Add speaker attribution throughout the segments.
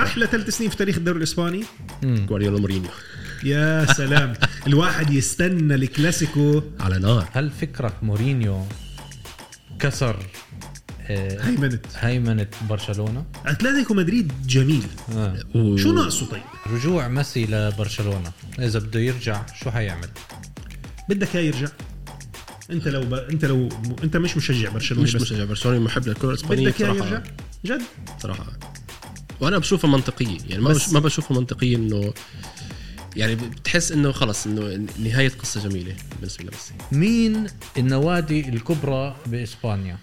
Speaker 1: احلى ثلاث سنين في تاريخ الدوري الاسباني جوارديولا مورينيو يا سلام الواحد يستنى الكلاسيكو على نار
Speaker 2: هل فكرك مورينيو كسر آه،
Speaker 1: هيمنت
Speaker 2: هيمنه برشلونه؟
Speaker 1: اتلتيكو مدريد جميل
Speaker 2: آه.
Speaker 3: و-
Speaker 1: شو ناقصه طيب
Speaker 2: رجوع ميسي لبرشلونه اذا بده يرجع شو حيعمل؟
Speaker 1: بدك اياه يرجع انت لو ب... انت لو انت مش مشجع برشلونه
Speaker 3: مش يعني
Speaker 1: بس
Speaker 3: مشجع برشلونه محب للكره الاسبانيه
Speaker 1: بدك اياه
Speaker 3: بصراحه
Speaker 1: يرجع جد
Speaker 3: صراحه وانا بشوفها منطقيه يعني ما
Speaker 1: بس-
Speaker 3: بش ما بشوفها منطقيه انه يعني بتحس انه خلص انه نهايه قصه جميله بالنسبه لميسي
Speaker 2: مين النوادي الكبرى باسبانيا؟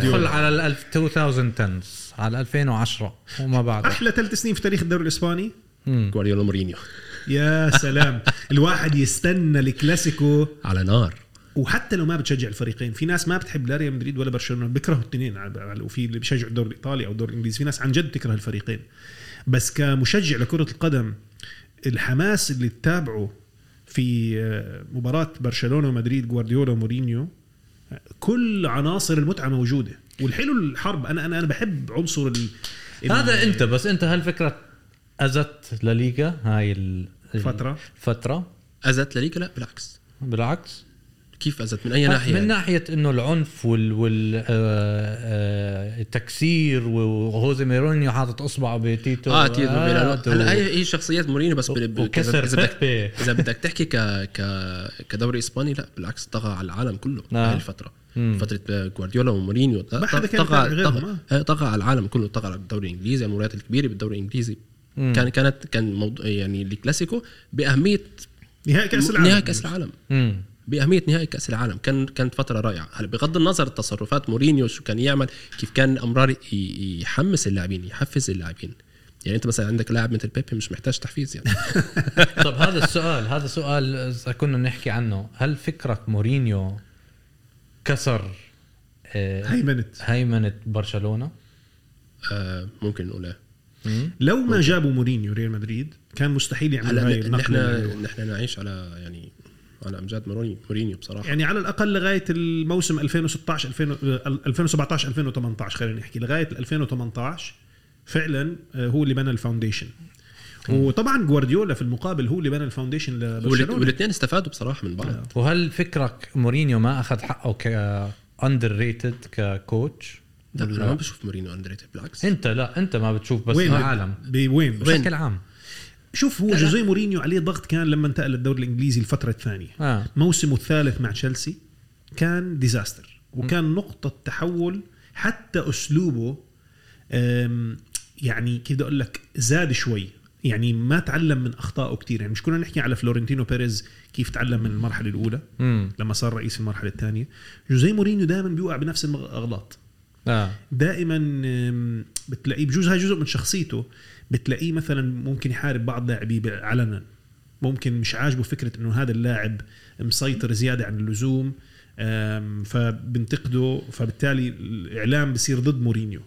Speaker 2: دخل على ال 2010 على 2010 وما بعد
Speaker 1: احلى ثلاث سنين في تاريخ الدوري الاسباني
Speaker 3: جوارديولا مورينيو
Speaker 1: يا سلام الواحد يستنى الكلاسيكو
Speaker 3: على نار
Speaker 1: وحتى لو ما بتشجع الفريقين في ناس ما بتحب لا ريال مدريد ولا برشلونه بيكرهوا الاثنين على- وفي اللي بيشجع الدوري الايطالي او الدوري الانجليزي في ناس عن جد تكره الفريقين بس كمشجع لكره القدم الحماس اللي تتابعه في آه، مباراه برشلونه ومدريد جوارديولا ومورينيو آه، كل عناصر المتعه موجوده والحلو الحرب انا انا انا بحب عنصر ال... ال-
Speaker 2: هذا انت بس انت هالفكره اذت لليغا هاي ال-
Speaker 1: الفترة.
Speaker 2: الفتره
Speaker 3: اذت لليغا لا بالعكس
Speaker 2: بالعكس
Speaker 3: كيف اذت من
Speaker 1: آه،
Speaker 3: اي
Speaker 2: من
Speaker 3: ناحيه يعني؟
Speaker 2: ناحيه انه العنف وال, وال... آه... آه... التكسير وهوزي ميرونيو حاطط اصبعه بتيتو آه،
Speaker 3: اه تيتو فيلانو هلا هي
Speaker 2: هلا
Speaker 3: هي شخصيات مورينيو بس بال- بال-
Speaker 2: وكسر
Speaker 3: إذا بدك-
Speaker 2: بيبي.
Speaker 3: اذا بدك تحكي ك ك كدوري اسباني لا بالعكس طغى على العالم كله
Speaker 2: آه.
Speaker 3: هاي الفتره فتره جوارديولا ومورينيو ط-
Speaker 1: ما حدا
Speaker 3: طغى
Speaker 1: كان يتابع
Speaker 3: طغى
Speaker 1: غيرهم،
Speaker 3: طغى- آه، طغى على العالم كله طغى على الدوري الانجليزي على المباريات الكبيره بالدوري الانجليزي
Speaker 2: مم.
Speaker 3: كان كانت كان موضوع يعني الكلاسيكو باهميه
Speaker 1: نهائي كاس العالم
Speaker 3: نهائي كاس العالم
Speaker 2: امم
Speaker 3: باهميه نهائي كاس العالم كان كانت فتره رائعه هلا بغض النظر التصرفات مورينيو شو كان يعمل كيف كان امرار ي- ي- يحمس اللاعبين يحفز اللاعبين يعني انت مثلا عندك لاعب مثل بيبي مش محتاج تحفيز يعني
Speaker 2: طب هذا السؤال هذا سؤال إذا كنا نحكي عنه هل فكرك مورينيو كسر آه...
Speaker 1: هيمنت
Speaker 2: هيمنه برشلونه
Speaker 3: آه ممكن نقول إيه.
Speaker 2: مم.
Speaker 1: لو ما جابوا مورينيو ريال مدريد كان مستحيل يعملوا هاي
Speaker 3: هلا
Speaker 1: النقله اللي عملوها.
Speaker 3: نحن نحن نعيش على يعني على امجاد مورينيو مورينيو بصراحه
Speaker 1: يعني على الاقل لغايه الموسم 2016 2000 2017 2018 خلينا نحكي لغايه 2018 فعلا آه، هو اللي بنى الفاونديشن وطبعا جوارديولا في المقابل هو اللي بنى الفاونديشن لبرشلونه
Speaker 3: والاثنين استفادوا بصراحه من
Speaker 1: آه.
Speaker 3: بعض
Speaker 2: وهل فكرك مورينيو ما اخذ حقه ك اندر ريتد ككوتش؟
Speaker 3: لا
Speaker 1: آه.
Speaker 3: انا ما بشوف مورينيو اندريتد بالعكس
Speaker 2: انت لا انت ما بتشوف بس
Speaker 1: وين
Speaker 2: العالم
Speaker 1: ب- وين
Speaker 3: وين؟
Speaker 2: بشكل عام
Speaker 1: شوف هو جوزيه مورينيو عليه ضغط كان لما انتقل للدوري الانجليزي الفتره الثانيه
Speaker 2: آه.
Speaker 1: موسمه الثالث مع تشيلسي كان ديزاستر وكان نقطه تحول حتى اسلوبه أم، يعني كيف بدي اقول لك زاد شوي يعني ما تعلم من اخطائه كثير يعني مش كنا نحكي على فلورنتينو بيريز كيف تعلم من المرحله الاولى
Speaker 2: امم
Speaker 1: لما صار رئيس المرحله الثانيه جوزيه مورينيو دائما بيوقع بنفس الاغلاط
Speaker 2: اه
Speaker 1: دائما أم، بتلاقيه بجوز هاي جزء من شخصيته بتلاقيه مثلا ممكن يحارب بعض لاعبيه ب- علنا ممكن مش عاجبه فكره انه هذا اللاعب مسيطر زياده عن اللزوم أم، فبنتقده فبالتالي الاعلام بصير ضد مورينيو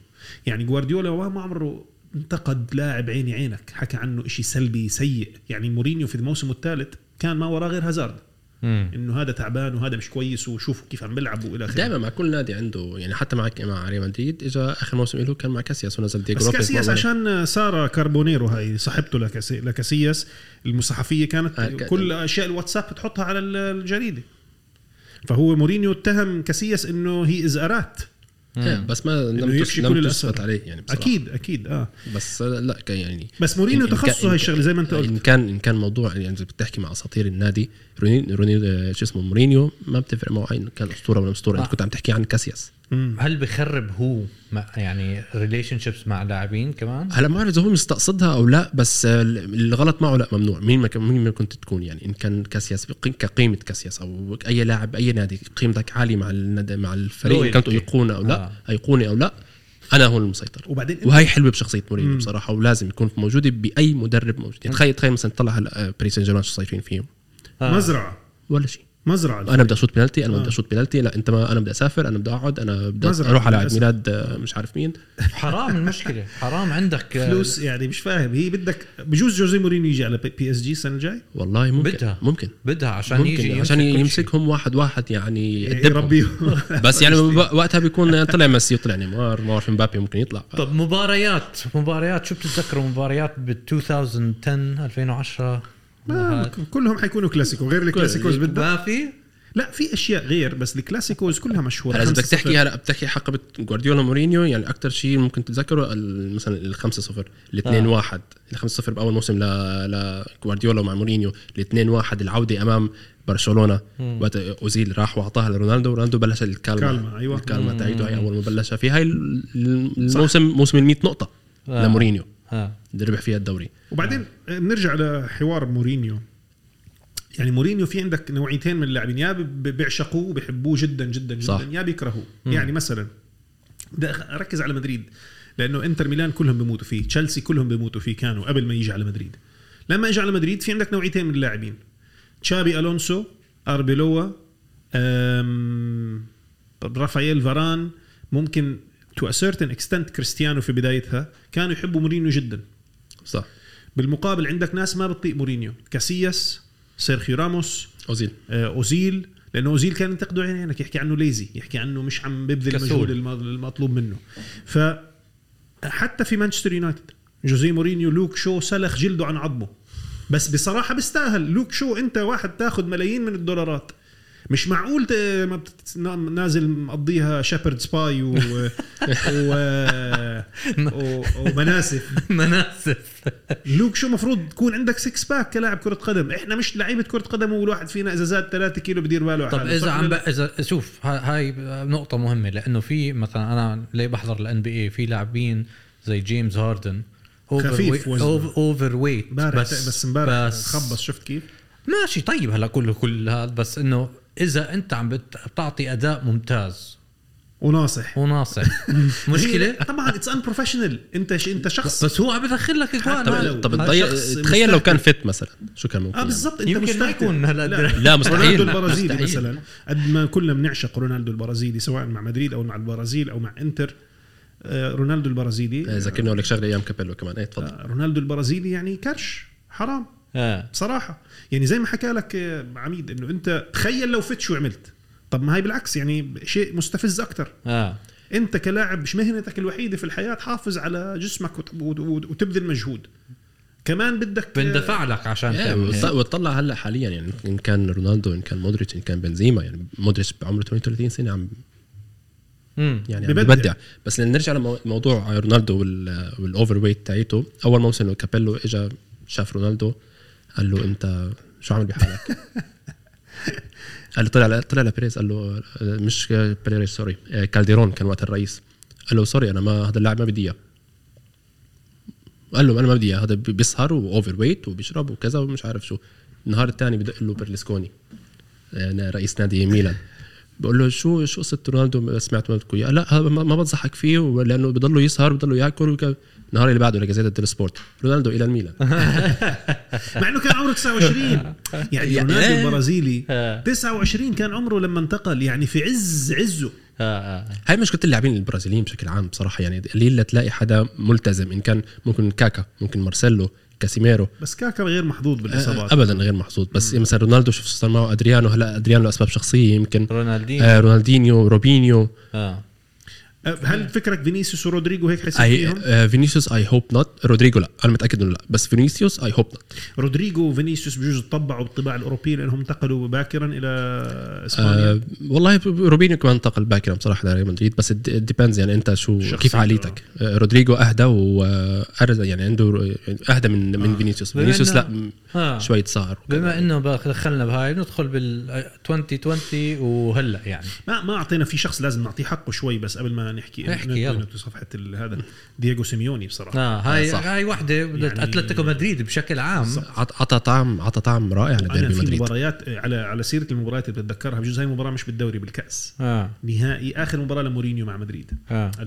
Speaker 1: يعني جوارديولا ما عمره انتقد لاعب عيني عينك حكى عنه إشي سلبي سيء يعني مورينيو في موسمه الثالث كان ما وراه غير هازارد
Speaker 2: امم
Speaker 1: انه هذا تعبان وهذا مش كويس وشوفوا كيف عم بيلعب والى اخره
Speaker 3: دائما مع كل نادي عنده يعني حتى مع مع ريال مدريد اجى اخر موسم له كان مع كاسياس ونزل ديجو
Speaker 1: بس
Speaker 3: لوبيز
Speaker 1: كاسياس
Speaker 3: مرة.
Speaker 1: عشان ساره كاربونيرو هاي صاحبته لكاسي لكاسياس المصحفيه كانت
Speaker 3: آه، ك-
Speaker 1: كل اشياء الواتساب تحطها على ال- الجريده فهو مورينيو اتهم كاسياس انه هي از ارات
Speaker 3: إيه، بس ما
Speaker 1: إنه
Speaker 3: لم تس-
Speaker 1: يكشي كل
Speaker 3: لم
Speaker 1: الأسر.
Speaker 3: تثبت عليه يعني بصراحة.
Speaker 1: اكيد اكيد اه
Speaker 3: بس لا كان يعني
Speaker 1: بس مورينيو
Speaker 3: إن- إن كان-
Speaker 1: تخصصه
Speaker 3: إن-
Speaker 1: هاي الشغله زي ما انت
Speaker 3: ان
Speaker 1: قلت
Speaker 3: كان ان كان موضوع يعني اذا بتحكي مع اساطير النادي روني روني شو اسمه مورينيو ما بتفرق معه عين كان اسطوره ولا اسطوره انت
Speaker 2: آه.
Speaker 3: كنت عم تحكي عن كاسياس
Speaker 1: مم.
Speaker 2: هل بخرب هو مع يعني ريليشن شيبس مع لاعبين كمان؟
Speaker 3: هلا ما بعرف اذا هو مستقصدها او لا بس آه، الغلط معه لا ممنوع مين ما كان- مين ما كنت تكون يعني ان كان كاسياس بق- كقيمه كاسياس او اي لاعب اي نادي قيمتك عاليه مع النادي مع الفريق ان
Speaker 2: Loyalty.
Speaker 3: كانت ايقونه او لا
Speaker 2: آه.
Speaker 3: ايقونه او لا انا هون المسيطر
Speaker 1: وبعدين انت
Speaker 3: وهي حلوه بشخصيه مورينيو بصراحه ولازم يكون موجوده باي مدرب موجود يعني تخيل تخيل مثلا تطلع هلا آه، باريس سان جيرمان شو صايرين فيهم
Speaker 2: آه.
Speaker 1: مزرعه
Speaker 3: ولا شيء
Speaker 1: مزرعه
Speaker 3: انا بدي اشوط بنالتي انا ما
Speaker 1: آه.
Speaker 3: بدي اشوط بنالتي لا انت ما انا بدي اسافر انا بدي اقعد انا بدي
Speaker 1: مزرعة
Speaker 3: اروح على عيد
Speaker 1: للأسف.
Speaker 3: ميلاد آه، مش عارف مين
Speaker 2: حرام المشكله حرام عندك آه،
Speaker 1: فلوس يعني مش فاهم هي بدك بجوز جوزي مورينيو يجي على بي, بي اس جي السنه الجاي
Speaker 3: والله ممكن
Speaker 2: بدها.
Speaker 3: ممكن
Speaker 2: بدها عشان
Speaker 3: عشان ممكن
Speaker 2: يجي
Speaker 3: يجي عشان
Speaker 2: يمسك كل
Speaker 3: يمسكهم واحد واحد يعني
Speaker 1: إيه،
Speaker 3: يأدبهم.
Speaker 1: يربيهم
Speaker 3: بس يعني ب- وقتها بيكون طلع ميسي وطلع نيمار ما بعرف مبابي ممكن يطلع
Speaker 2: شيء. طب مباريات مباريات شو بتتذكروا مباريات بال 2010 2010
Speaker 3: آه.
Speaker 1: ما- آه، كلهم حيكونوا كلاسيكو غير الكلاسيكوز بدك
Speaker 2: ما في
Speaker 1: لا في اشياء غير بس الكلاسيكوز كلها مشهوره
Speaker 3: هلا اذا بدك
Speaker 1: 5-0.
Speaker 3: تحكي هلا بتحكي حقبه جوارديولا مورينيو يعني اكثر شيء ممكن تتذكره ال- مثلا ال 5 0 ال
Speaker 1: آه.
Speaker 3: 2 1 ال 5 0 باول موسم ل- لجوارديولا مع مورينيو ال 2 1 العوده امام برشلونه وقت اوزيل راح واعطاها لرونالدو ورونالدو بلش الكالما
Speaker 1: كالما، أيوة.
Speaker 3: الكالما تاعيته هي اول ما بلشها في هاي ال- الموسم موسم ال 100 نقطه
Speaker 2: آه.
Speaker 3: لمورينيو
Speaker 2: ها
Speaker 3: اللي ربح فيها الدوري
Speaker 1: وبعدين بنرجع لحوار مورينيو يعني مورينيو في عندك نوعيتين من اللاعبين يا ب- ب- بيعشقوه وبيحبوه جدا جدا جدا
Speaker 3: صح.
Speaker 1: يا بيكرهوه يعني مثلا بدي أخ- اركز على مدريد لانه انتر ميلان كلهم بيموتوا فيه تشيلسي كلهم بيموتوا فيه كانوا قبل ما يجي على مدريد لما اجى على مدريد في عندك نوعيتين من اللاعبين تشابي الونسو اربيلوا أم، رافائيل فاران ممكن تو certain extent كريستيانو في بدايتها كانوا يحبوا مورينيو جدا
Speaker 3: صح
Speaker 1: بالمقابل عندك ناس ما بتطيق مورينيو كاسياس سيرخيو راموس
Speaker 3: اوزيل
Speaker 1: آه، اوزيل لانه اوزيل كان ينتقده عين عينك يحكي عنه ليزي يحكي عنه مش عم ببذل
Speaker 2: كسول.
Speaker 1: المجهود الم- المطلوب منه ف حتى في مانشستر يونايتد جوزي مورينيو لوك شو سلخ جلده عن عظمه بس بصراحه بيستاهل لوك شو انت واحد تاخذ ملايين من الدولارات مش معقول ت- ما بتت- نازل مقضيها شيبرد سباي و... و... و... ومناسف
Speaker 2: مناسف
Speaker 1: لوك شو مفروض تكون عندك سكس باك كلاعب كرة قدم، احنا مش لعيبة كرة قدم والواحد فينا إذا زاد 3 كيلو بدير باله على
Speaker 2: طب
Speaker 1: حاله،
Speaker 2: اذا
Speaker 1: صح
Speaker 2: عم
Speaker 1: ولا
Speaker 2: ب...
Speaker 1: لا؟
Speaker 2: اذا شوف ها- هاي نقطه مهمه لانه في مثلا انا اللي بحضر الان بي اي في لاعبين زي جيمس هاردن
Speaker 1: خفيف
Speaker 2: وي-
Speaker 1: وزنه.
Speaker 2: أوف- اوفر ويت
Speaker 1: امبارح بس بس امبارح خبص شفت كيف؟
Speaker 2: ماشي طيب هلا كله كل هذا بس انه اذا انت عم بت- بتعطي اداء ممتاز
Speaker 1: وناصح
Speaker 2: وناصح مشكله
Speaker 1: هي- طبعا اتس ان بروفيشنال انت ش... انت شخص
Speaker 2: بس هو عم بدخل لك اجوان
Speaker 1: حتى
Speaker 2: هذا.
Speaker 1: لو-
Speaker 3: طب
Speaker 1: هذا شخص
Speaker 3: تضيع- تخيل لو كان فت مثلا شو كان ممكن
Speaker 1: اه
Speaker 3: يعمل؟
Speaker 1: بالضبط انت
Speaker 2: يمكن ما
Speaker 1: مستحيل
Speaker 2: يكون هلا
Speaker 1: لا,
Speaker 3: لا مستحيل
Speaker 1: رونالدو البرازيلي
Speaker 3: مستحيل.
Speaker 1: مثلا قد ما كلنا بنعشق رونالدو البرازيلي سواء مع مدريد او مع البرازيل او مع انتر آه، رونالدو
Speaker 3: آه،
Speaker 1: البرازيلي
Speaker 3: ذكرني اقول لك شغله ايام كابيلو كمان ايه تفضل
Speaker 1: آه، رونالدو البرازيلي يعني كرش حرام
Speaker 2: آه.
Speaker 1: بصراحة يعني زي ما حكى لك آه، عميد انه انت تخيل لو فت شو عملت طب ما هي بالعكس يعني شيء مستفز اكثر
Speaker 2: اه
Speaker 1: انت كلاعب مش مهنتك الوحيدة في الحياة حافظ على جسمك وت- وت- وت- وتبذل مجهود كمان بدك آه،
Speaker 2: بندفع لك عشان
Speaker 3: إيه،
Speaker 2: تعمل
Speaker 3: وتط-
Speaker 2: هيك.
Speaker 3: وتطلع هلا حاليا يعني ان كان رونالدو ان كان مودريتش ان كان بنزيما يعني مودريتش بعمره 32 سنه عم
Speaker 2: مم.
Speaker 3: يعني عم
Speaker 1: ببدع.
Speaker 3: ببدع بس نرجع لموضوع رونالدو وال- والاوفر ويت تاعيته اول موسم لو كابيلو اجى شاف رونالدو قال له انت شو عامل بحالك؟ قال له طلع طلع لبيريز قال له آه، مش بيريز سوري آه، كالديرون كان وقت الرئيس قال له سوري انا ما هذا اللاعب ما بدي اياه قال له انا ما بدي اياه هذا بي- بيسهر واوفر ويت وبيشرب وكذا ومش عارف شو النهار الثاني بدق له برلسكوني آه، رئيس نادي ميلان بقول له شو شو قصه رونالدو ما سمعت ما بدكم اياه لا هذا ما ما بنصحك فيه لانه بضله يسهر بضله ياكل وك- النهار اللي بعده لجازيتا ديل سبورت رونالدو الى الميلان
Speaker 1: مع انه كان عمره 29 يعني
Speaker 3: يا-
Speaker 1: رونالدو
Speaker 3: إيه.
Speaker 1: البرازيلي
Speaker 2: آه.
Speaker 1: 29 كان عمره لما انتقل يعني في عز عزه
Speaker 2: آه، آه.
Speaker 3: هاي مشكله اللاعبين البرازيليين بشكل عام بصراحه يعني قليل تلاقي حدا ملتزم ان كان ممكن كاكا ممكن مارسيلو كاسيميرو
Speaker 1: بس كاكا غير محظوظ بالاصابات
Speaker 3: ابدا غير محظوظ بس مثلا رونالدو شوف صار معه ادريانو هلا ادريانو لاسباب شخصيه يمكن
Speaker 2: رونالدينيو
Speaker 3: آه رونالدينيو روبينيو
Speaker 2: اه
Speaker 1: أه، هل فكرك فينيسيوس ورودريجو هيك حسيت
Speaker 3: اي
Speaker 1: فيهم؟
Speaker 3: آه فينيسيوس اي هوب نوت رودريجو لا انا متاكد انه لا بس فينيسيوس اي هوب نوت
Speaker 1: رودريجو وفينيسيوس بجوز طبعوا بالطباع الاوروبي لانهم انتقلوا باكرا الى اسبانيا
Speaker 3: آه والله ب- ب- روبينيو كمان انتقل باكر بصراحه لريال مدريد بس ديبيندز يعني انت شو
Speaker 1: شخصيته.
Speaker 3: كيف عقليتك آه رودريجو اهدى وارزى يعني عنده ر- اهدى من
Speaker 1: آه.
Speaker 3: من فينيسيوس
Speaker 2: بما
Speaker 3: فينيسيوس لا
Speaker 2: إنه-
Speaker 3: م-
Speaker 2: آه.
Speaker 3: شوي تصغر
Speaker 2: بما انه بأخ- دخلنا بهاي ندخل بال 2020 وهلا يعني
Speaker 1: ما ما اعطينا في شخص لازم نعطيه حقه شوي بس قبل ما نحكي
Speaker 2: احكي، يلا.
Speaker 1: نكون في صفحه ال- هذا دييغو سيميوني بصراحه
Speaker 2: اه هاي
Speaker 3: آه، صح.
Speaker 2: هاي وحده بدت
Speaker 1: يعني-
Speaker 2: اتلتيكو مدريد بشكل عام
Speaker 3: عط- عطى طعم عطى طعم رائع
Speaker 1: انا
Speaker 3: لديربي
Speaker 1: في
Speaker 3: مدريد
Speaker 1: مباريات آه، على على سيره المباريات اللي بتذكرها بجوز هاي مباراه مش بالدوري بالكاس
Speaker 2: اه
Speaker 1: نهائي اخر مباراه لمورينيو مع مدريد
Speaker 3: آه.
Speaker 2: اه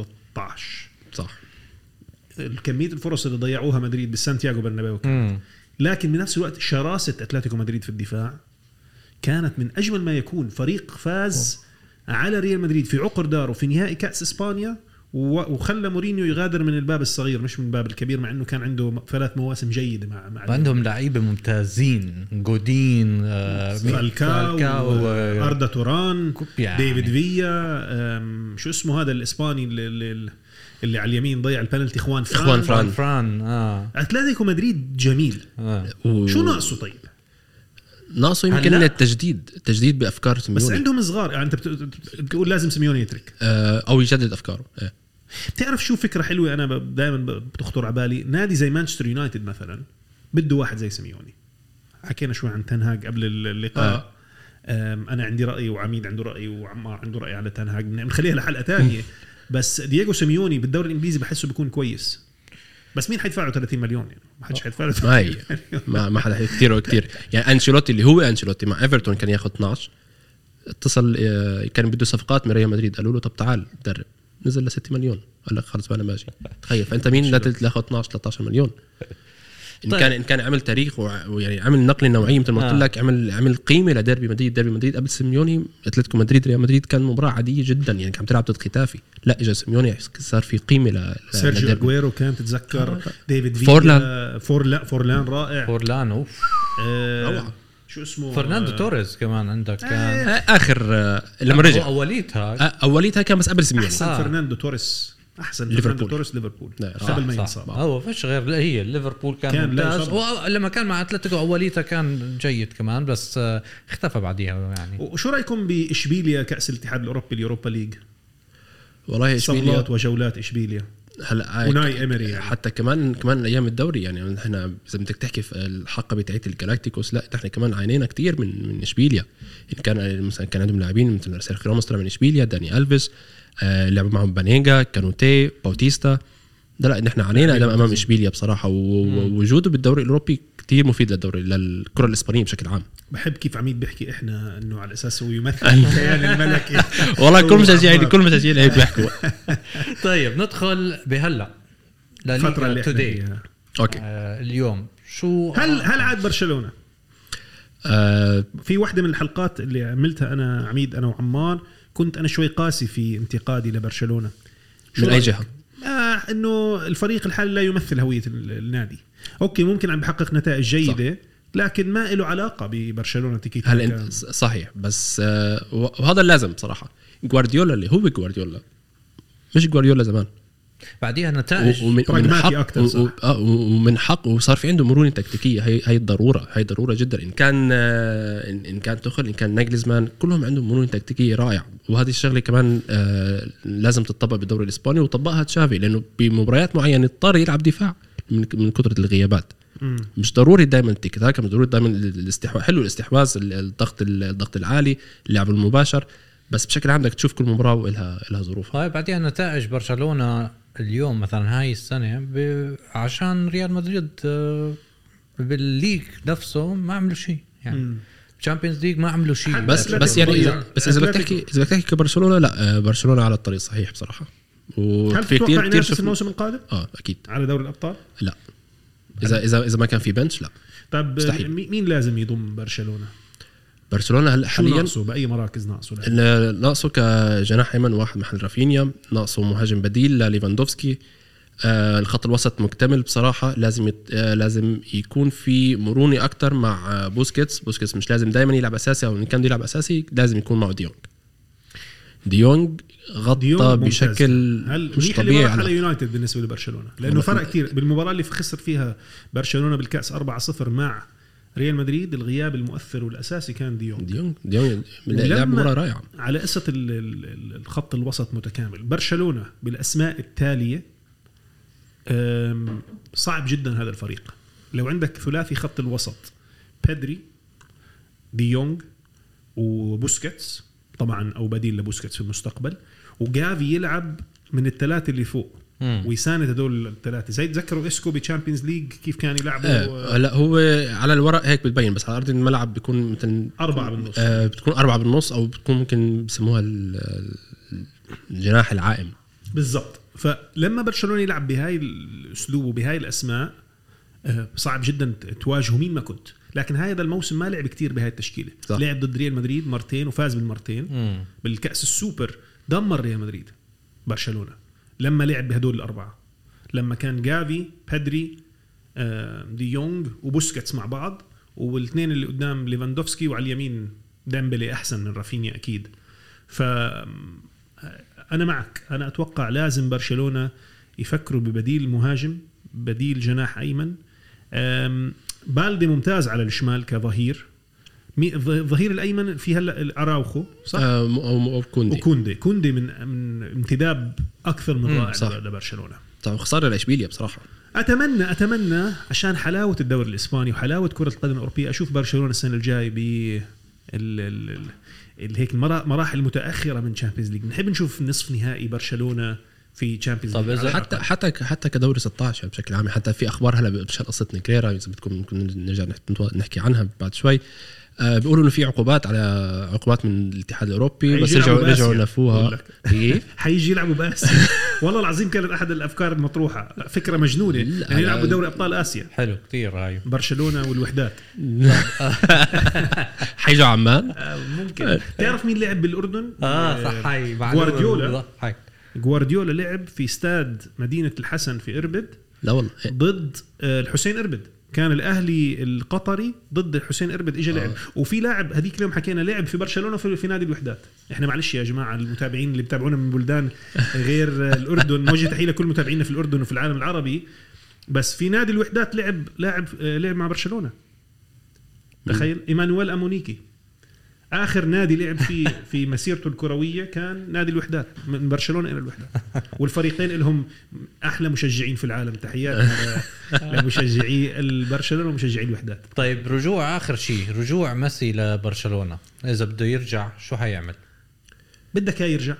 Speaker 1: 2013
Speaker 3: صح
Speaker 1: كميه الفرص اللي ضيعوها مدريد بالسانتياغو برنابيو
Speaker 2: مم.
Speaker 1: لكن بنفس الوقت شراسه اتلتيكو مدريد في الدفاع كانت من اجمل ما يكون فريق فاز على ريال مدريد في عقر داره في نهائي كاس اسبانيا و- وخلى مورينيو يغادر من الباب الصغير مش من الباب الكبير مع انه كان عنده م- ثلاث مواسم جيده مع مع
Speaker 2: عندهم لعيبه ممتازين جودين آه، مين؟
Speaker 1: فالكاو
Speaker 2: آه،
Speaker 1: اردا توران
Speaker 2: يعني.
Speaker 1: ديفيد فيا أم، شو اسمه هذا الاسباني اللي, اللي, اللي على اليمين ضيع البنالتي اخوان فران
Speaker 3: إخوان فران.
Speaker 2: فران فران اه,
Speaker 1: اتلتيكو مدريد جميل
Speaker 2: آه.
Speaker 3: و-
Speaker 1: شو ناقصه طيب
Speaker 3: ناقصه يمكن
Speaker 2: هلا.
Speaker 3: التجديد التجديد بافكار
Speaker 1: بس
Speaker 3: سيميوني
Speaker 1: عندهم صغار يعني انت بت- بت- بتقول لازم سيميوني يترك
Speaker 3: آه، او يجدد افكاره آه.
Speaker 1: بتعرف شو فكره حلوه انا دائما بتخطر على بالي نادي زي مانشستر يونايتد مثلا بده واحد زي سيميوني حكينا شوي عن تنهاج قبل اللقاء
Speaker 3: آه.
Speaker 1: أم، انا عندي راي وعميد عنده راي وعمار عنده راي على تنهاج بنخليها لحلقه ثانيه بس دييغو سيميوني بالدوري الانجليزي بحسه بيكون كويس بس مين حيدفع له 30 مليون يعني ما حدش حيدفع له 30
Speaker 3: ما هي ما ما حدا كثير كثير يعني انشيلوتي اللي هو انشيلوتي مع ايفرتون كان ياخذ 12 اتصل آه، كان بده صفقات من ريال مدريد قالوا له طب تعال درب نزل ل 6 مليون قال لك خلص بقى انا باجي تخيل فانت مين لا تاخذ 12 13 مليون ان
Speaker 2: طيب.
Speaker 3: كان ان كان عمل تاريخ وع- ويعني عمل نقله نوعيه مثل ما
Speaker 2: آه.
Speaker 3: قلت لك عمل عمل قيمه لديربي مدريد ديربي مدريد قبل سيميوني اتلتيكو مدريد ريال مدريد كان مباراه عاديه جدا يعني كان عم تلعب ضد ختافي لا اجى سيميوني صار في قيمه ل ل-
Speaker 1: سيرجيو
Speaker 3: لديربي.
Speaker 1: اجويرو كان تتذكر ديفيد فيا
Speaker 3: آه. فورلان.
Speaker 1: فورلان فورلان رائع
Speaker 2: فورلان اوف
Speaker 1: آه،
Speaker 3: روعة.
Speaker 1: شو اسمه
Speaker 2: فرناندو
Speaker 1: آه،
Speaker 2: توريز كمان عندك كان
Speaker 3: آه، اخر آه، لما
Speaker 2: هو
Speaker 3: رجع
Speaker 2: اوليتها
Speaker 1: آه،
Speaker 3: أ- اوليتها كان بس قبل يعني. سيميوني
Speaker 1: احسن
Speaker 2: آه.
Speaker 1: فرناندو توريس احسن
Speaker 3: ليفربول.
Speaker 1: فرناندو توريس ليفربول
Speaker 3: نعم.
Speaker 1: قبل ما
Speaker 2: صح، آه.
Speaker 1: ينصاب
Speaker 2: هو فيش غير لا هي ليفربول كان,
Speaker 1: كان
Speaker 2: كان
Speaker 1: لا
Speaker 2: ممتاز
Speaker 1: يصاب.
Speaker 2: ولما كان مع اتلتيكو اوليتها كان جيد كمان بس آه، اختفى بعديها يعني
Speaker 1: وشو رايكم باشبيليا كاس الاتحاد الاوروبي اليوروبا ليج
Speaker 3: والله اشبيليا
Speaker 1: صلات وجولات اشبيليا
Speaker 3: هلا آه،
Speaker 1: وناي إيمري يعني.
Speaker 3: حتى كمان كمان ايام الدوري يعني نحن اذا بدك تحكي في الحقبه تاعت الجلاكتيكوس لا نحن كمان عانينا كثير من من اشبيليا إن كان مثلا كان عندهم لاعبين مثل سيرخيو راموس طلع من اشبيليا داني الفيس آه لعبوا معهم بانيجا كانوتي باوتيستا لا لا نحن عانينا أمام- امام اشبيليا بصراحه و- ووجوده بالدوري الاوروبي كثير مفيد للدوري للكره الاسبانيه بشكل عام
Speaker 1: بحب كيف عميد بيحكي احنا انه على اساس هو يمثل الكيان الملكي
Speaker 3: والله كل
Speaker 1: هو
Speaker 3: مشجعين
Speaker 1: عمار.
Speaker 3: كل مشجعين هيك بيحكوا
Speaker 2: طيب ندخل بهلا
Speaker 1: الفتره اللي احنا
Speaker 2: لليغا توداي
Speaker 1: فيها.
Speaker 3: اوكي
Speaker 2: آه، اليوم شو
Speaker 1: هل هل عاد برشلونه
Speaker 3: آه
Speaker 1: في واحدة من الحلقات اللي عملتها انا عميد انا وعمار كنت انا شوي قاسي في انتقادي لبرشلونه شو
Speaker 3: من اي
Speaker 1: رأيك؟
Speaker 3: جهه
Speaker 1: آه انه الفريق الحالي لا يمثل هويه ال- النادي اوكي ممكن عم بحقق نتائج جيده صح. لكن ما له علاقه ببرشلونه تيكي تاكا.
Speaker 3: هلا انت ص- صحيح بس آه، و- وهذا اللازم بصراحه جوارديولا اللي هو جوارديولا مش جوارديولا زمان
Speaker 2: بعديها
Speaker 3: و-
Speaker 2: نتائج
Speaker 3: ومن ومن
Speaker 1: براغماتي
Speaker 3: حق
Speaker 1: أكتر،
Speaker 3: و-
Speaker 1: صح.
Speaker 3: و- آه، ومن حق وصار في عنده مرونه تكتيكيه هي هي الضروره هي ضروره جدا ان كان آه، ان إن كان تخل ان كان ناجلزمان كلهم عندهم مرونه تكتيكيه رائعه وهذه الشغله كمان آه، لازم تطبق بالدوري الاسباني وطبقها تشافي لانه بمباريات معينه اضطر يلعب دفاع من من كثره الغيابات
Speaker 1: مم.
Speaker 3: مش ضروري دائما التيك تاك مش ضروري دائما الاستحواذ حلو الاستحواذ ال- الضغط ال- الضغط العالي اللعب المباشر بس بشكل عام بدك تشوف كل مباراه ولها لها ظروفها
Speaker 2: هاي بعديها طيب، نتائج برشلونه اليوم مثلا هاي السنه ب... عشان ريال مدريد آه، بالليج نفسه ما عملوا شيء يعني
Speaker 1: مم.
Speaker 2: تشامبيونز ليج ما عملوا شيء
Speaker 1: حتى
Speaker 3: بس
Speaker 1: أتلتيكو
Speaker 3: بس يعني
Speaker 1: ضيع.
Speaker 3: اذا بس اذا بدك
Speaker 1: أتلتيكو.
Speaker 3: تحكي اذا بدك تحكي كبرشلونه لا آه، برشلونه على الطريق صحيح بصراحه
Speaker 1: هل
Speaker 3: وفي
Speaker 1: تتوقع
Speaker 3: كثير كثير
Speaker 1: ينافس
Speaker 3: شفنا
Speaker 1: الموسم القادم
Speaker 3: اه اكيد
Speaker 1: على دوري الابطال؟
Speaker 3: لا اذا اذا اذا ما كان في بنش لا
Speaker 1: طب
Speaker 3: مستحيل.
Speaker 1: طيب، مي- مين لازم يضم برشلونه؟
Speaker 3: برشلونه هلا
Speaker 1: شو
Speaker 3: حاليا
Speaker 1: ناقصه باي مراكز ناقصه؟ لا.
Speaker 3: ال- ناقصه كجناح ايمن واحد محل رافينيا ناقصه مهاجم بديل لليفاندوفسكي آه الخط الوسط مكتمل بصراحه لازم يت... آه لازم يكون في مرونه اكتر مع آه بوسكيتس بوسكيتس مش لازم دائما يلعب اساسي او ان كان بده يلعب اساسي لازم يكون معه ديونج ديونج غطى
Speaker 1: ديونج ممتاز.
Speaker 3: بشكل
Speaker 1: هل
Speaker 3: مش
Speaker 1: منيح اللي
Speaker 3: طبيعي
Speaker 1: راح على
Speaker 3: على
Speaker 1: يونايتد بالنسبه لبرشلونه لانه
Speaker 3: والله
Speaker 1: فرق
Speaker 3: كنت-
Speaker 1: كثير بالمباراه اللي خسر فيها برشلونه بالكاس 4-0 مع ريال مدريد الغياب المؤثر والاساسي كان ديونج
Speaker 3: ديونج ديونج
Speaker 1: ولما-
Speaker 3: لعب مباراه رائعه
Speaker 1: على قصة ال- ال- ال- الخط الوسط متكامل برشلونة بالأسماء التالية أم، صعب جدا هذا الفريق لو عندك ثلاثي خط الوسط بيدري ديونج وبوسكيتس طبعا او بديل لبوسكيتس في المستقبل وجافي يلعب من الثلاثه اللي فوق
Speaker 2: مم.
Speaker 1: ويساند هدول الثلاثه زي تذكروا اسكو بتشامبيونز ليج كيف كان يلعبوا
Speaker 3: آه، هلا هو على الورق هيك بتبين بس على ارض الملعب بيكون مثل
Speaker 1: أربعة بالنص.
Speaker 3: آه بتكون أربعة بالنص أو بتكون ممكن بسموها ال- ال- الجناح العائم
Speaker 1: بالضبط فلما برشلونه يلعب بهاي الاسلوب وبهاي الاسماء آه، صعب جدا ت- تواجهه مين ما كنت لكن هذا الموسم ما لعب كتير بهاي التشكيله
Speaker 3: صح.
Speaker 1: لعب ضد ريال مدريد مرتين وفاز بالمرتين
Speaker 2: مم.
Speaker 1: بالكاس السوبر دمر ريال مدريد برشلونه لما لعب بهدول الاربعه لما كان جافي بيدري آه، دي يونغ وبوسكيتس مع بعض والاثنين اللي قدام ليفاندوفسكي وعلى اليمين ديمبلي احسن من رافينيا اكيد ف انا معك انا اتوقع لازم برشلونه يفكروا ببديل مهاجم بديل جناح ايمن أم، بالدي ممتاز على الشمال كظهير مي- ظ- ظهير الايمن في هلا اراوخو صح
Speaker 3: آه، م- او أو كوندي
Speaker 1: وكوندي كوندي من من امتداد اكثر من
Speaker 3: مم،
Speaker 1: رائع
Speaker 3: صح.
Speaker 1: لبرشلونه
Speaker 3: طبعا خساره لاشبيليا بصراحه
Speaker 1: اتمنى اتمنى عشان حلاوه الدوري الاسباني وحلاوه كره القدم الاوروبيه اشوف برشلونه السنه الجايه ب ال- ال- ال- ال- هيك المرا- مراحل متاخره من تشامبيونز ليج بنحب نشوف نصف نهائي برشلونه في تشامبيونز
Speaker 2: طب
Speaker 1: ليج
Speaker 2: إذا-
Speaker 1: حتى
Speaker 3: حتى حتى ك- حتى كدوري 16 بشكل عام حتى في اخبار هلا مشان قصه نكريرا اذا بدكم ممكن نرجع نحت- نحكي عنها بعد شوي آه، بيقولوا انه في عقوبات على عقوبات من الاتحاد الاوروبي بس
Speaker 1: هيجي
Speaker 3: رجعوا
Speaker 1: يلعبوا
Speaker 3: رجعوا
Speaker 1: بآسيا. بقول
Speaker 3: نفوها
Speaker 1: لك.
Speaker 3: ايه
Speaker 1: حيجي يلعبوا باسيا والله العظيم كانت احد الافكار المطروحه فكره مجنونه
Speaker 3: لا،
Speaker 1: يعني يلعبوا
Speaker 3: لا.
Speaker 1: دوري ابطال اسيا
Speaker 2: حلو كثير هاي
Speaker 1: برشلونه والوحدات
Speaker 3: حيجوا عمان
Speaker 1: آه، ممكن تعرف مين لعب بالاردن؟
Speaker 2: اه آه. صح هاي معلومة
Speaker 1: غوارديولا.
Speaker 2: بالضبط، هاي
Speaker 1: جوارديولا لعب في استاد مدينه الحسن في اربد
Speaker 3: لا والله
Speaker 1: ضد آه، الحسين اربد كان الاهلي القطري ضد الحسين اربد اجى لعب وفي لاعب هذيك اليوم حكينا لعب في برشلونه في, في نادي الوحدات احنا معلش يا جماعه المتابعين اللي بتابعونا من بلدان غير آه، الاردن نوجه تحيه لكل متابعينا في الاردن وفي العالم العربي بس في نادي الوحدات لعب لاعب آه، لعب مع برشلونه تخيل ايمانويل امونيكي اخر نادي لعب فيه في مسيرته الكرويه كان نادي الوحدات من برشلونه الى الوحدات والفريقين لهم احلى مشجعين في العالم تحيات لمشجعي البرشلونه ومشجعي الوحدات
Speaker 2: طيب رجوع اخر شيء رجوع ميسي لبرشلونه اذا بده يرجع شو حيعمل؟
Speaker 1: بدك اياه يرجع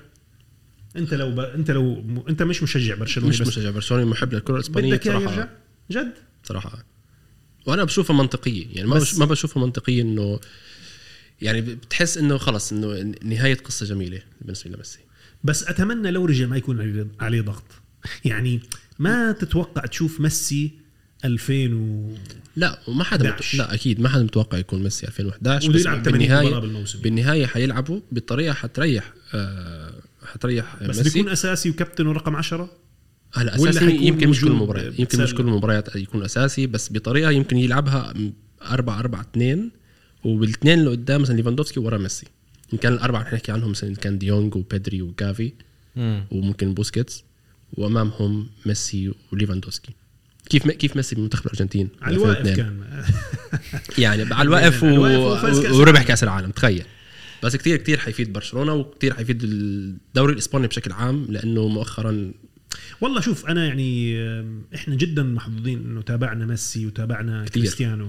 Speaker 1: انت لو ب... انت لو م... انت مش مشجع برشلونه
Speaker 3: مش
Speaker 1: بس
Speaker 3: مشجع برشلونه محب للكره الاسبانيه
Speaker 1: بدك اياه
Speaker 3: بصراحه
Speaker 1: يرجع جد
Speaker 3: بصراحه وانا بشوفها منطقيه يعني ما
Speaker 1: بس-
Speaker 3: بش ما بشوفها منطقيه انه يعني بتحس انه خلص انه نهايه قصه جميله بالنسبه لميسي
Speaker 1: بس اتمنى لو رجع ما يكون عليه- عليه ضغط يعني ما تتوقع تشوف ميسي 2000 و...
Speaker 3: لا وما حدا مت...
Speaker 1: 11.
Speaker 3: لا اكيد ما حدا متوقع يكون ميسي 2011
Speaker 1: وبده
Speaker 3: بس
Speaker 1: يلعب 80 مباراة بالموسم.
Speaker 3: بالنهايه حيلعبوا بطريقه حتريح آه حتريح
Speaker 1: بس
Speaker 3: ميسي
Speaker 1: بيكون اساسي وكابتن ورقم 10
Speaker 3: هلا
Speaker 1: ولا
Speaker 3: اساسي
Speaker 1: حيكون
Speaker 3: يمكن مش كل
Speaker 1: نجوم
Speaker 3: المباريات يمكن مش
Speaker 1: بتسلل؟
Speaker 3: كل المباريات يكون اساسي بس بطريقه يمكن يلعبها 4 4 2 وبالاثنين اللي قدام مثلا ليفاندوفسكي ورا ميسي ان كان الاربعه اللي نحكي عنهم مثلا كان ديونج وبيدري وكافي
Speaker 2: مم.
Speaker 3: وممكن بوسكيتس وامامهم ميسي وليفاندوفسكي كيف كيف ميسي بمنتخب الارجنتين
Speaker 1: على الواقف
Speaker 3: 2002.
Speaker 1: كان
Speaker 3: يعني على الواقف
Speaker 1: على
Speaker 3: و...
Speaker 1: الواقف وفاز كأس
Speaker 3: و- وربح كاس العالم تخيل بس كتير كتير حيفيد برشلونه وكتير حيفيد الدوري الاسباني بشكل عام لانه مؤخرا
Speaker 1: والله شوف انا يعني آم، احنا جدا محظوظين انه تابعنا ميسي وتابعنا
Speaker 3: كتير.
Speaker 1: كريستيانو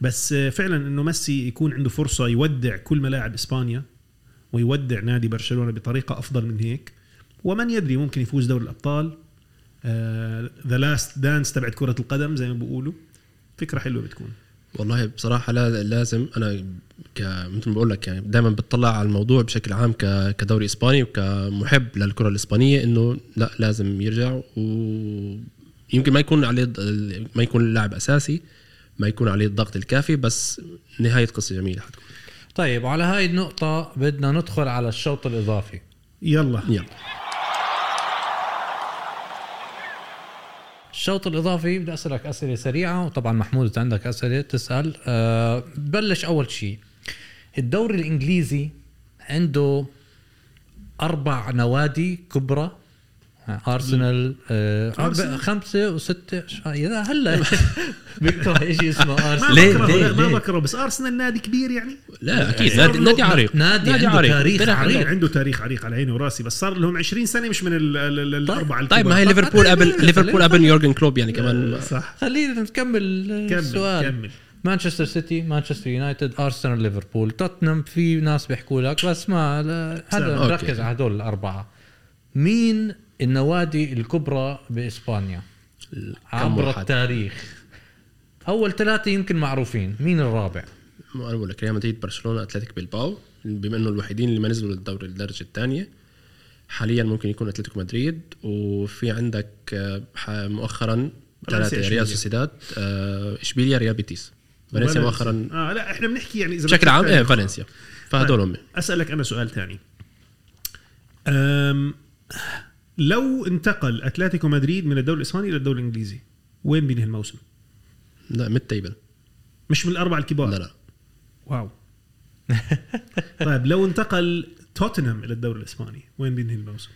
Speaker 1: بس آه، فعلا انه ميسي يكون عنده فرصه يودع كل ملاعب اسبانيا ويودع نادي برشلونه بطريقه افضل من هيك ومن يدري ممكن يفوز دوري آه، الابطال ذا لاست دانس تبعت كره القدم زي ما بيقولوا فكره حلوه بتكون
Speaker 3: والله بصراحه لا لازم انا ك... مثل ما بقول لك يعني دائما بتطلع على الموضوع بشكل عام ك... كدوري اسباني وكمحب للكره الاسبانيه انه لا لازم يرجع ويمكن ما يكون عليه ض- ما يكون اللاعب اساسي ما يكون عليه الضغط الكافي بس نهايه قصه جميله حتكون
Speaker 2: طيب وعلى هاي النقطه بدنا ندخل على الشوط الاضافي
Speaker 1: يلا
Speaker 3: يلا
Speaker 2: الشوط الاضافي بدي اسالك اسئله سريعه وطبعا محمود اذا عندك اسئله تسال أه بلش اول شيء الدوري الانجليزي عنده اربع نوادي كبرى آه، ارسنال آه
Speaker 1: أرسنال؟
Speaker 2: أربع- خمسه وسته ش- يا هلا بكره شيء اسمه
Speaker 1: ما
Speaker 2: ارسنال
Speaker 3: ليه؟
Speaker 1: بكره
Speaker 3: ليه؟
Speaker 1: لا، ما
Speaker 3: ليه؟
Speaker 1: بكره بس ارسنال نادي كبير يعني
Speaker 3: لا اكيد نادي, نادي عريق
Speaker 2: نادي عنده تاريخ
Speaker 3: طلع
Speaker 2: عريق.
Speaker 1: عريق عنده تاريخ عريق على عيني وراسي بس صار لهم 20 سنه مش من ال- ال- ال- الاربعه الكبار
Speaker 3: طيب ما هي
Speaker 2: طب
Speaker 3: ليفربول
Speaker 2: خلينا
Speaker 3: قبل
Speaker 2: نرجع،
Speaker 3: ليفربول
Speaker 2: خلينا
Speaker 3: قبل يورجن كلوب يعني كمان
Speaker 1: صح
Speaker 2: خلينا نكمل السؤال
Speaker 1: كمل كمل
Speaker 2: مانشستر سيتي مانشستر يونايتد ارسنال ليفربول توتنهام في ناس بيحكوا لك بس ما لا-
Speaker 1: سلام.
Speaker 2: هذا
Speaker 3: أوكي.
Speaker 2: مركز على هدول الاربعه مين النوادي الكبرى باسبانيا عبر
Speaker 3: واحد؟
Speaker 2: التاريخ اول ثلاثه يمكن معروفين مين الرابع
Speaker 3: ما انا بقول لك ريال مدريد برشلونه اتلتيك بلباو بما انه الوحيدين اللي ما نزلوا للدوري الدرجه الثانيه حاليا ممكن يكون اتلتيكو مدريد وفي عندك آه، ح- مؤخرا
Speaker 1: أنا نسي
Speaker 3: ثلاثه
Speaker 1: إشبيليا.
Speaker 3: ريال سوسيداد آه، اشبيليا ريال بيتيس فالنسيا مؤخرا
Speaker 1: اه لا احنا بنحكي يعني اذا
Speaker 3: بشكل
Speaker 1: بدك
Speaker 3: عام ايه
Speaker 1: تاريخ.
Speaker 3: فالنسيا فهدول هم
Speaker 1: اسالك انا سؤال ثاني أم لو انتقل اتلتيكو مدريد من الدوري الاسباني الى الدوري الانجليزي وين بينهي الموسم؟
Speaker 3: لا ميد تيبل
Speaker 1: مش من الاربعه الكبار
Speaker 3: لا لا
Speaker 1: واو طيب لو انتقل توتنهام الى الدوري الاسباني وين بينهي الموسم؟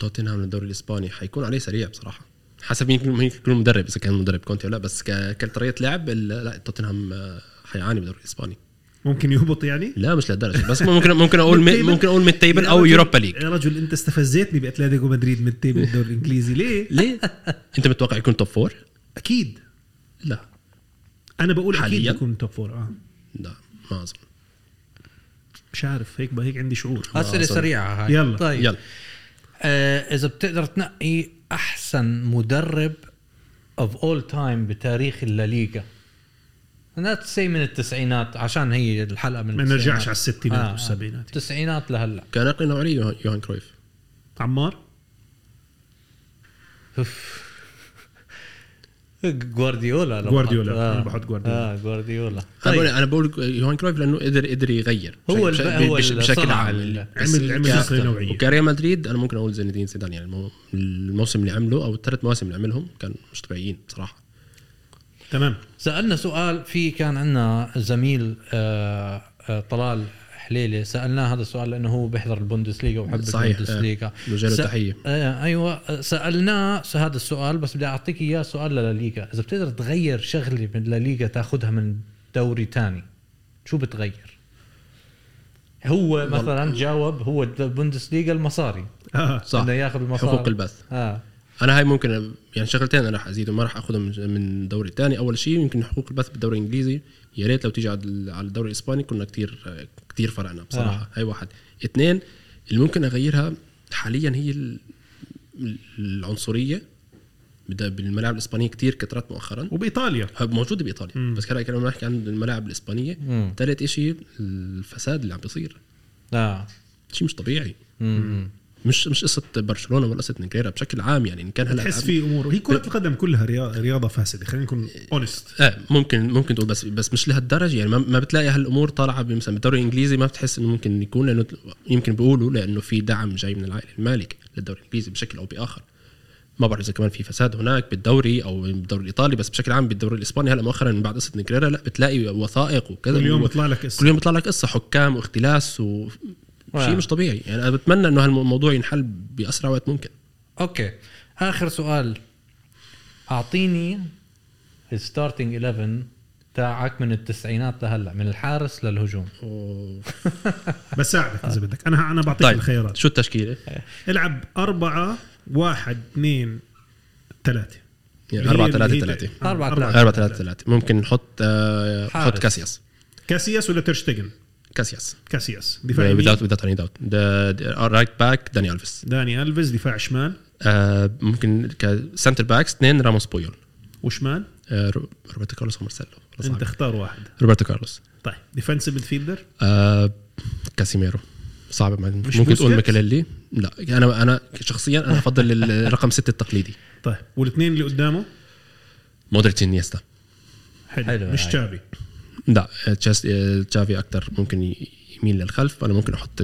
Speaker 3: توتنهام من الدوري الاسباني حيكون عليه سريع بصراحه حسب مين مين يكون مدرب اذا كان مدرب كونتي ولا لا بس ك- كطريقه لعب ال- لا توتنهام آه، حيعاني بالدوري الاسباني
Speaker 1: ممكن يهبط يعني؟
Speaker 3: لا مش للدرجه بس ممكن ممكن اقول
Speaker 1: ميد
Speaker 3: مي-
Speaker 1: تيبل؟
Speaker 3: ممكن اقول ميد تيبل
Speaker 1: يا
Speaker 3: او
Speaker 1: رجل-
Speaker 3: يوروبا ليج
Speaker 1: يا رجل انت استفزيتني باتلتيكو مدريد من التيبل الدوري الانجليزي ليه؟
Speaker 3: ليه؟ انت متوقع يكون توب فور؟
Speaker 1: اكيد
Speaker 3: لا
Speaker 1: انا بقول
Speaker 3: حالياً؟
Speaker 1: اكيد يكون توب فور اه
Speaker 3: لا ما اظن
Speaker 1: مش عارف هيك هيك عندي شعور
Speaker 2: اسئله
Speaker 3: آه، sorry.
Speaker 2: سريعه هاي
Speaker 1: يلا.
Speaker 2: طيب
Speaker 3: يلا
Speaker 2: آه، اذا بتقدر تنقي احسن مدرب اوف اول تايم بتاريخ الليغا لا تسي من التسعينات عشان هي الحلقه من
Speaker 1: ما نرجعش
Speaker 2: التسعينات.
Speaker 1: على الستينات
Speaker 2: آه، آه.
Speaker 1: والسبعينات.
Speaker 2: التسعينات لهلا
Speaker 3: كان اقل نوعيه يوهان- يوهان كرويف
Speaker 1: عمار
Speaker 2: أوف. جوارديولا لو
Speaker 1: جوارديولا.
Speaker 2: حط-
Speaker 1: أنا بحط جوارديولا.
Speaker 2: اه جوارديولا
Speaker 3: انا
Speaker 2: طيب
Speaker 3: بقول انا بقول يوهان كرويف لانه قدر قدر يغير
Speaker 2: هو
Speaker 3: بش-
Speaker 2: الب- هو
Speaker 3: بش-
Speaker 2: اللي
Speaker 3: بشكل
Speaker 2: صنع
Speaker 3: عام
Speaker 2: ال-
Speaker 3: بس
Speaker 1: عمل عمل
Speaker 3: ك-
Speaker 1: فكره نوعيه
Speaker 3: وكريال مدريد انا ممكن اقول زين الدين زيدان يعني المو- الموسم اللي عمله او الثلاث مواسم اللي عملهم كان مش طبيعيين بصراحه
Speaker 1: تمام
Speaker 2: سالنا سؤال في كان عندنا زميل آه، آه، طلال حليله سالناه هذا السؤال لانه هو بيحضر البوندسليغا وبحب
Speaker 3: صحيح، آه.
Speaker 2: البوندسليغا
Speaker 3: نوجه له
Speaker 2: س-
Speaker 3: تحية.
Speaker 2: آه، ايوه سالناه س- هذا السؤال بس بدي اعطيك اياه سؤال لليغا اذا بتقدر تغير شغله من لليغا تاخذها من دوري تاني شو بتغير؟ هو مثلا جاوب هو البوندسليغا المصاري
Speaker 1: آه.
Speaker 3: صح
Speaker 2: بده ياخذ المصاري
Speaker 3: حقوق البث
Speaker 2: اه
Speaker 3: انا هاي ممكن يعني شغلتين انا راح ازيدهم ما راح اخذهم من- من دوري تاني اول شيء يمكن حقوق البث بالدوري الانجليزي يا ريت لو تيجي على ال- على الدوري الاسباني كنا كتير كتير فرقنا بصراحه آه. هاي واحد اثنين اللي ممكن اغيرها حاليا هي ال- العنصريه بدا- بالملاعب الاسبانيه كتير كثرت مؤخرا
Speaker 1: وبايطاليا
Speaker 3: هو موجوده بايطاليا
Speaker 1: مم.
Speaker 3: بس كده كنا بنحكي عن الملاعب الاسبانيه
Speaker 2: مم.
Speaker 3: ثالث شيء الفساد اللي عم بيصير
Speaker 2: اه
Speaker 3: شيء مش طبيعي
Speaker 2: مم.
Speaker 3: مش مش قصه برشلونه ولا قصه نجريرا بشكل عام يعني ان كان هلا
Speaker 1: تحس في امور هي كره القدم كلها رياضه, رياضة فاسده خلينا نكون اونست
Speaker 3: ايه ممكن ممكن تقول بس بس مش لهالدرجه يعني ما- ما بتلاقي هالامور طالعه ب- مثلا بالدوري الانجليزي ما بتحس انه ممكن يكون لانه يمكن بيقولوا لانه في دعم جاي من العائله المالك للدوري الانجليزي بشكل او باخر ما بعرف اذا كمان في فساد هناك بالدوري او بالدوري الايطالي بس بشكل عام بالدوري الاسباني هلا مؤخرا من بعد قصه نجريرا لا بتلاقي وثائق وكذا
Speaker 1: كل يوم
Speaker 3: و-
Speaker 1: بيطلع لك
Speaker 3: كل
Speaker 1: قصه
Speaker 3: يوم بيطلع لك قصه حكام واختلاس وشيء
Speaker 2: آه.
Speaker 3: مش طبيعي يعني انا بتمنى انه هالموضوع ينحل باسرع وقت ممكن
Speaker 2: اوكي اخر سؤال اعطيني الستارتنج 11 تاعك من التسعينات لهلا من الحارس للهجوم
Speaker 1: بساعدك اذا بدك انا انا بعطيك
Speaker 3: آه. طيب
Speaker 1: الخيارات
Speaker 3: شو يعني التشكيله؟
Speaker 1: العب أربعة واحد اثنين ثلاثة
Speaker 3: يعني 4 3 3
Speaker 2: أربعة،
Speaker 3: 4 3 3 ممكن نحط آه،
Speaker 2: حارس.
Speaker 3: نحط كاسياس
Speaker 1: كاسياس ولا ترشتجن
Speaker 3: كاسياس
Speaker 1: كاسياس دفاع يمين
Speaker 3: without without any doubt The- the uh, رايت باك داني الفيس
Speaker 1: داني الفيز دفاع شمال
Speaker 3: آه، ممكن كسنتر باكس اثنين راموس بويول
Speaker 1: وشمال
Speaker 3: آه، رو- روبرتو كارلوس ومارسيلو خلص
Speaker 1: انت
Speaker 3: عم.
Speaker 1: اختار واحد
Speaker 3: روبرتو كارلوس
Speaker 1: طيب ديفنسيف ميدفيلدر
Speaker 3: آه، كاسيميرو صعب ما- ممكن
Speaker 1: بوسكيتس؟
Speaker 3: تقول ميكاليلي لا انا انا شخصيا انا افضل الرقم ستة التقليدي
Speaker 1: طيب والاثنين اللي قدامه
Speaker 3: مودريتش انيستا
Speaker 1: حلو,
Speaker 2: حلو،
Speaker 1: حلو مش
Speaker 2: هاي.
Speaker 1: تشافي
Speaker 3: لا آه، تشاس- آه، تشافي اكثر ممكن ي- يميل للخلف انا ممكن احط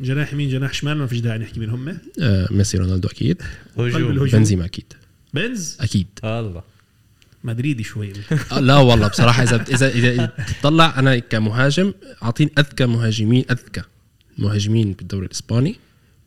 Speaker 1: جناح يمين جناح شمال ما فيش داعي نحكي مين هم
Speaker 3: آه، ميسي رونالدو اكيد
Speaker 1: قلب
Speaker 2: هجوم
Speaker 1: الهجوم.
Speaker 3: بنزيما اكيد
Speaker 1: بنز
Speaker 3: اكيد
Speaker 2: الله
Speaker 1: مدريدي شوي
Speaker 3: آه، لا والله بصراحه اذا اذا اذا تطلع انا كمهاجم اعطيني اذكى مهاجمين اذكى مهاجمين بالدوري الاسباني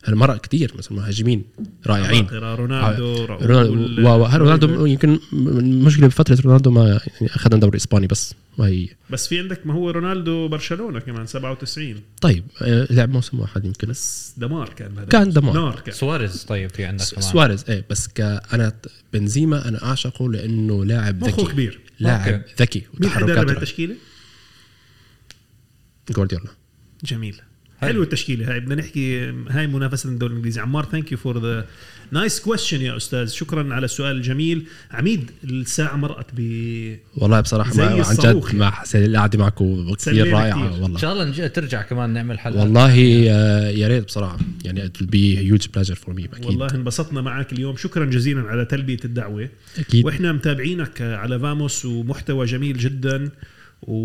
Speaker 3: هالمرة كثير مثلا مهاجمين رائعين آه،
Speaker 1: رونالدو راؤول،
Speaker 3: رونالدو و- و- رونالدو يمكن المشكله بفتره رونالدو ما يعني اخذنا الدوري الاسباني بس ما هي
Speaker 1: بس في عندك ما هو رونالدو برشلونه كمان 97
Speaker 3: طيب آه، لعب موسم واحد يمكن
Speaker 1: بس دمار كان هذا
Speaker 3: كان دمار.
Speaker 1: نار كان
Speaker 2: سواريز طيب في عندك
Speaker 3: س-
Speaker 2: كمان
Speaker 3: سواريز ايه بس ك- انا ت- بنزيما انا اعشقه لانه لاعب
Speaker 1: مخه
Speaker 3: ذكي
Speaker 1: كبير
Speaker 3: لاعب
Speaker 2: أوكي.
Speaker 3: ذكي
Speaker 1: مين حيدرب
Speaker 3: وتحركاته
Speaker 1: هالتشكيله؟
Speaker 3: جوارديولا
Speaker 1: جميل حلوه التشكيله هاي بدنا نحكي هاي منافسه الدوري الانجليزي عمار ثانك يو فور ذا نايس كويستشن يا استاذ شكرا على السؤال الجميل عميد الساعه مرقت ب
Speaker 3: والله بصراحه
Speaker 1: زي
Speaker 3: ما- عن
Speaker 1: الصاروخ
Speaker 3: جد
Speaker 1: يعني.
Speaker 3: ما حسيت القعده معكم كثير
Speaker 1: تسلينا
Speaker 3: رائعه
Speaker 1: كتير.
Speaker 2: ان
Speaker 3: والله
Speaker 2: شاء الله نج- ترجع كمان نعمل حلقه
Speaker 3: والله آه، يا ريت بصراحه يعني it will be a huge pleasure for me اكيد
Speaker 1: والله انبسطنا معك اليوم شكرا جزيلا على تلبيه الدعوه
Speaker 3: اكيد
Speaker 1: واحنا متابعينك على فاموس ومحتوى جميل جدا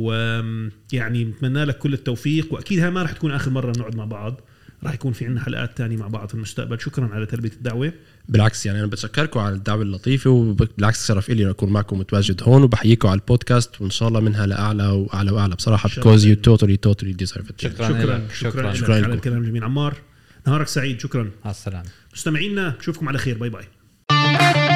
Speaker 1: ويعني نتمنى لك كل التوفيق واكيد هاي ما راح تكون اخر مره نقعد مع بعض راح يكون في عندنا حلقات تانية مع بعض في المستقبل شكرا على تلبيه الدعوه
Speaker 3: بالعكس يعني انا بتشكركم على الدعوه اللطيفه وبالعكس شرف لي اكون معكم متواجد هون وبحييكم على البودكاست وان شاء الله منها لاعلى واعلى واعلى بصراحه
Speaker 1: شاء الله.
Speaker 3: because you totally totally deserve it
Speaker 1: شكرا
Speaker 2: شكرا لك.
Speaker 1: شكرا,
Speaker 2: شكرا
Speaker 1: شكرا
Speaker 3: شكراً
Speaker 1: على
Speaker 3: لكم.
Speaker 1: الكلام الجميل عمار نهارك سعيد شكرا
Speaker 2: مع السلامه
Speaker 1: مستمعينا بشوفكم على خير باي باي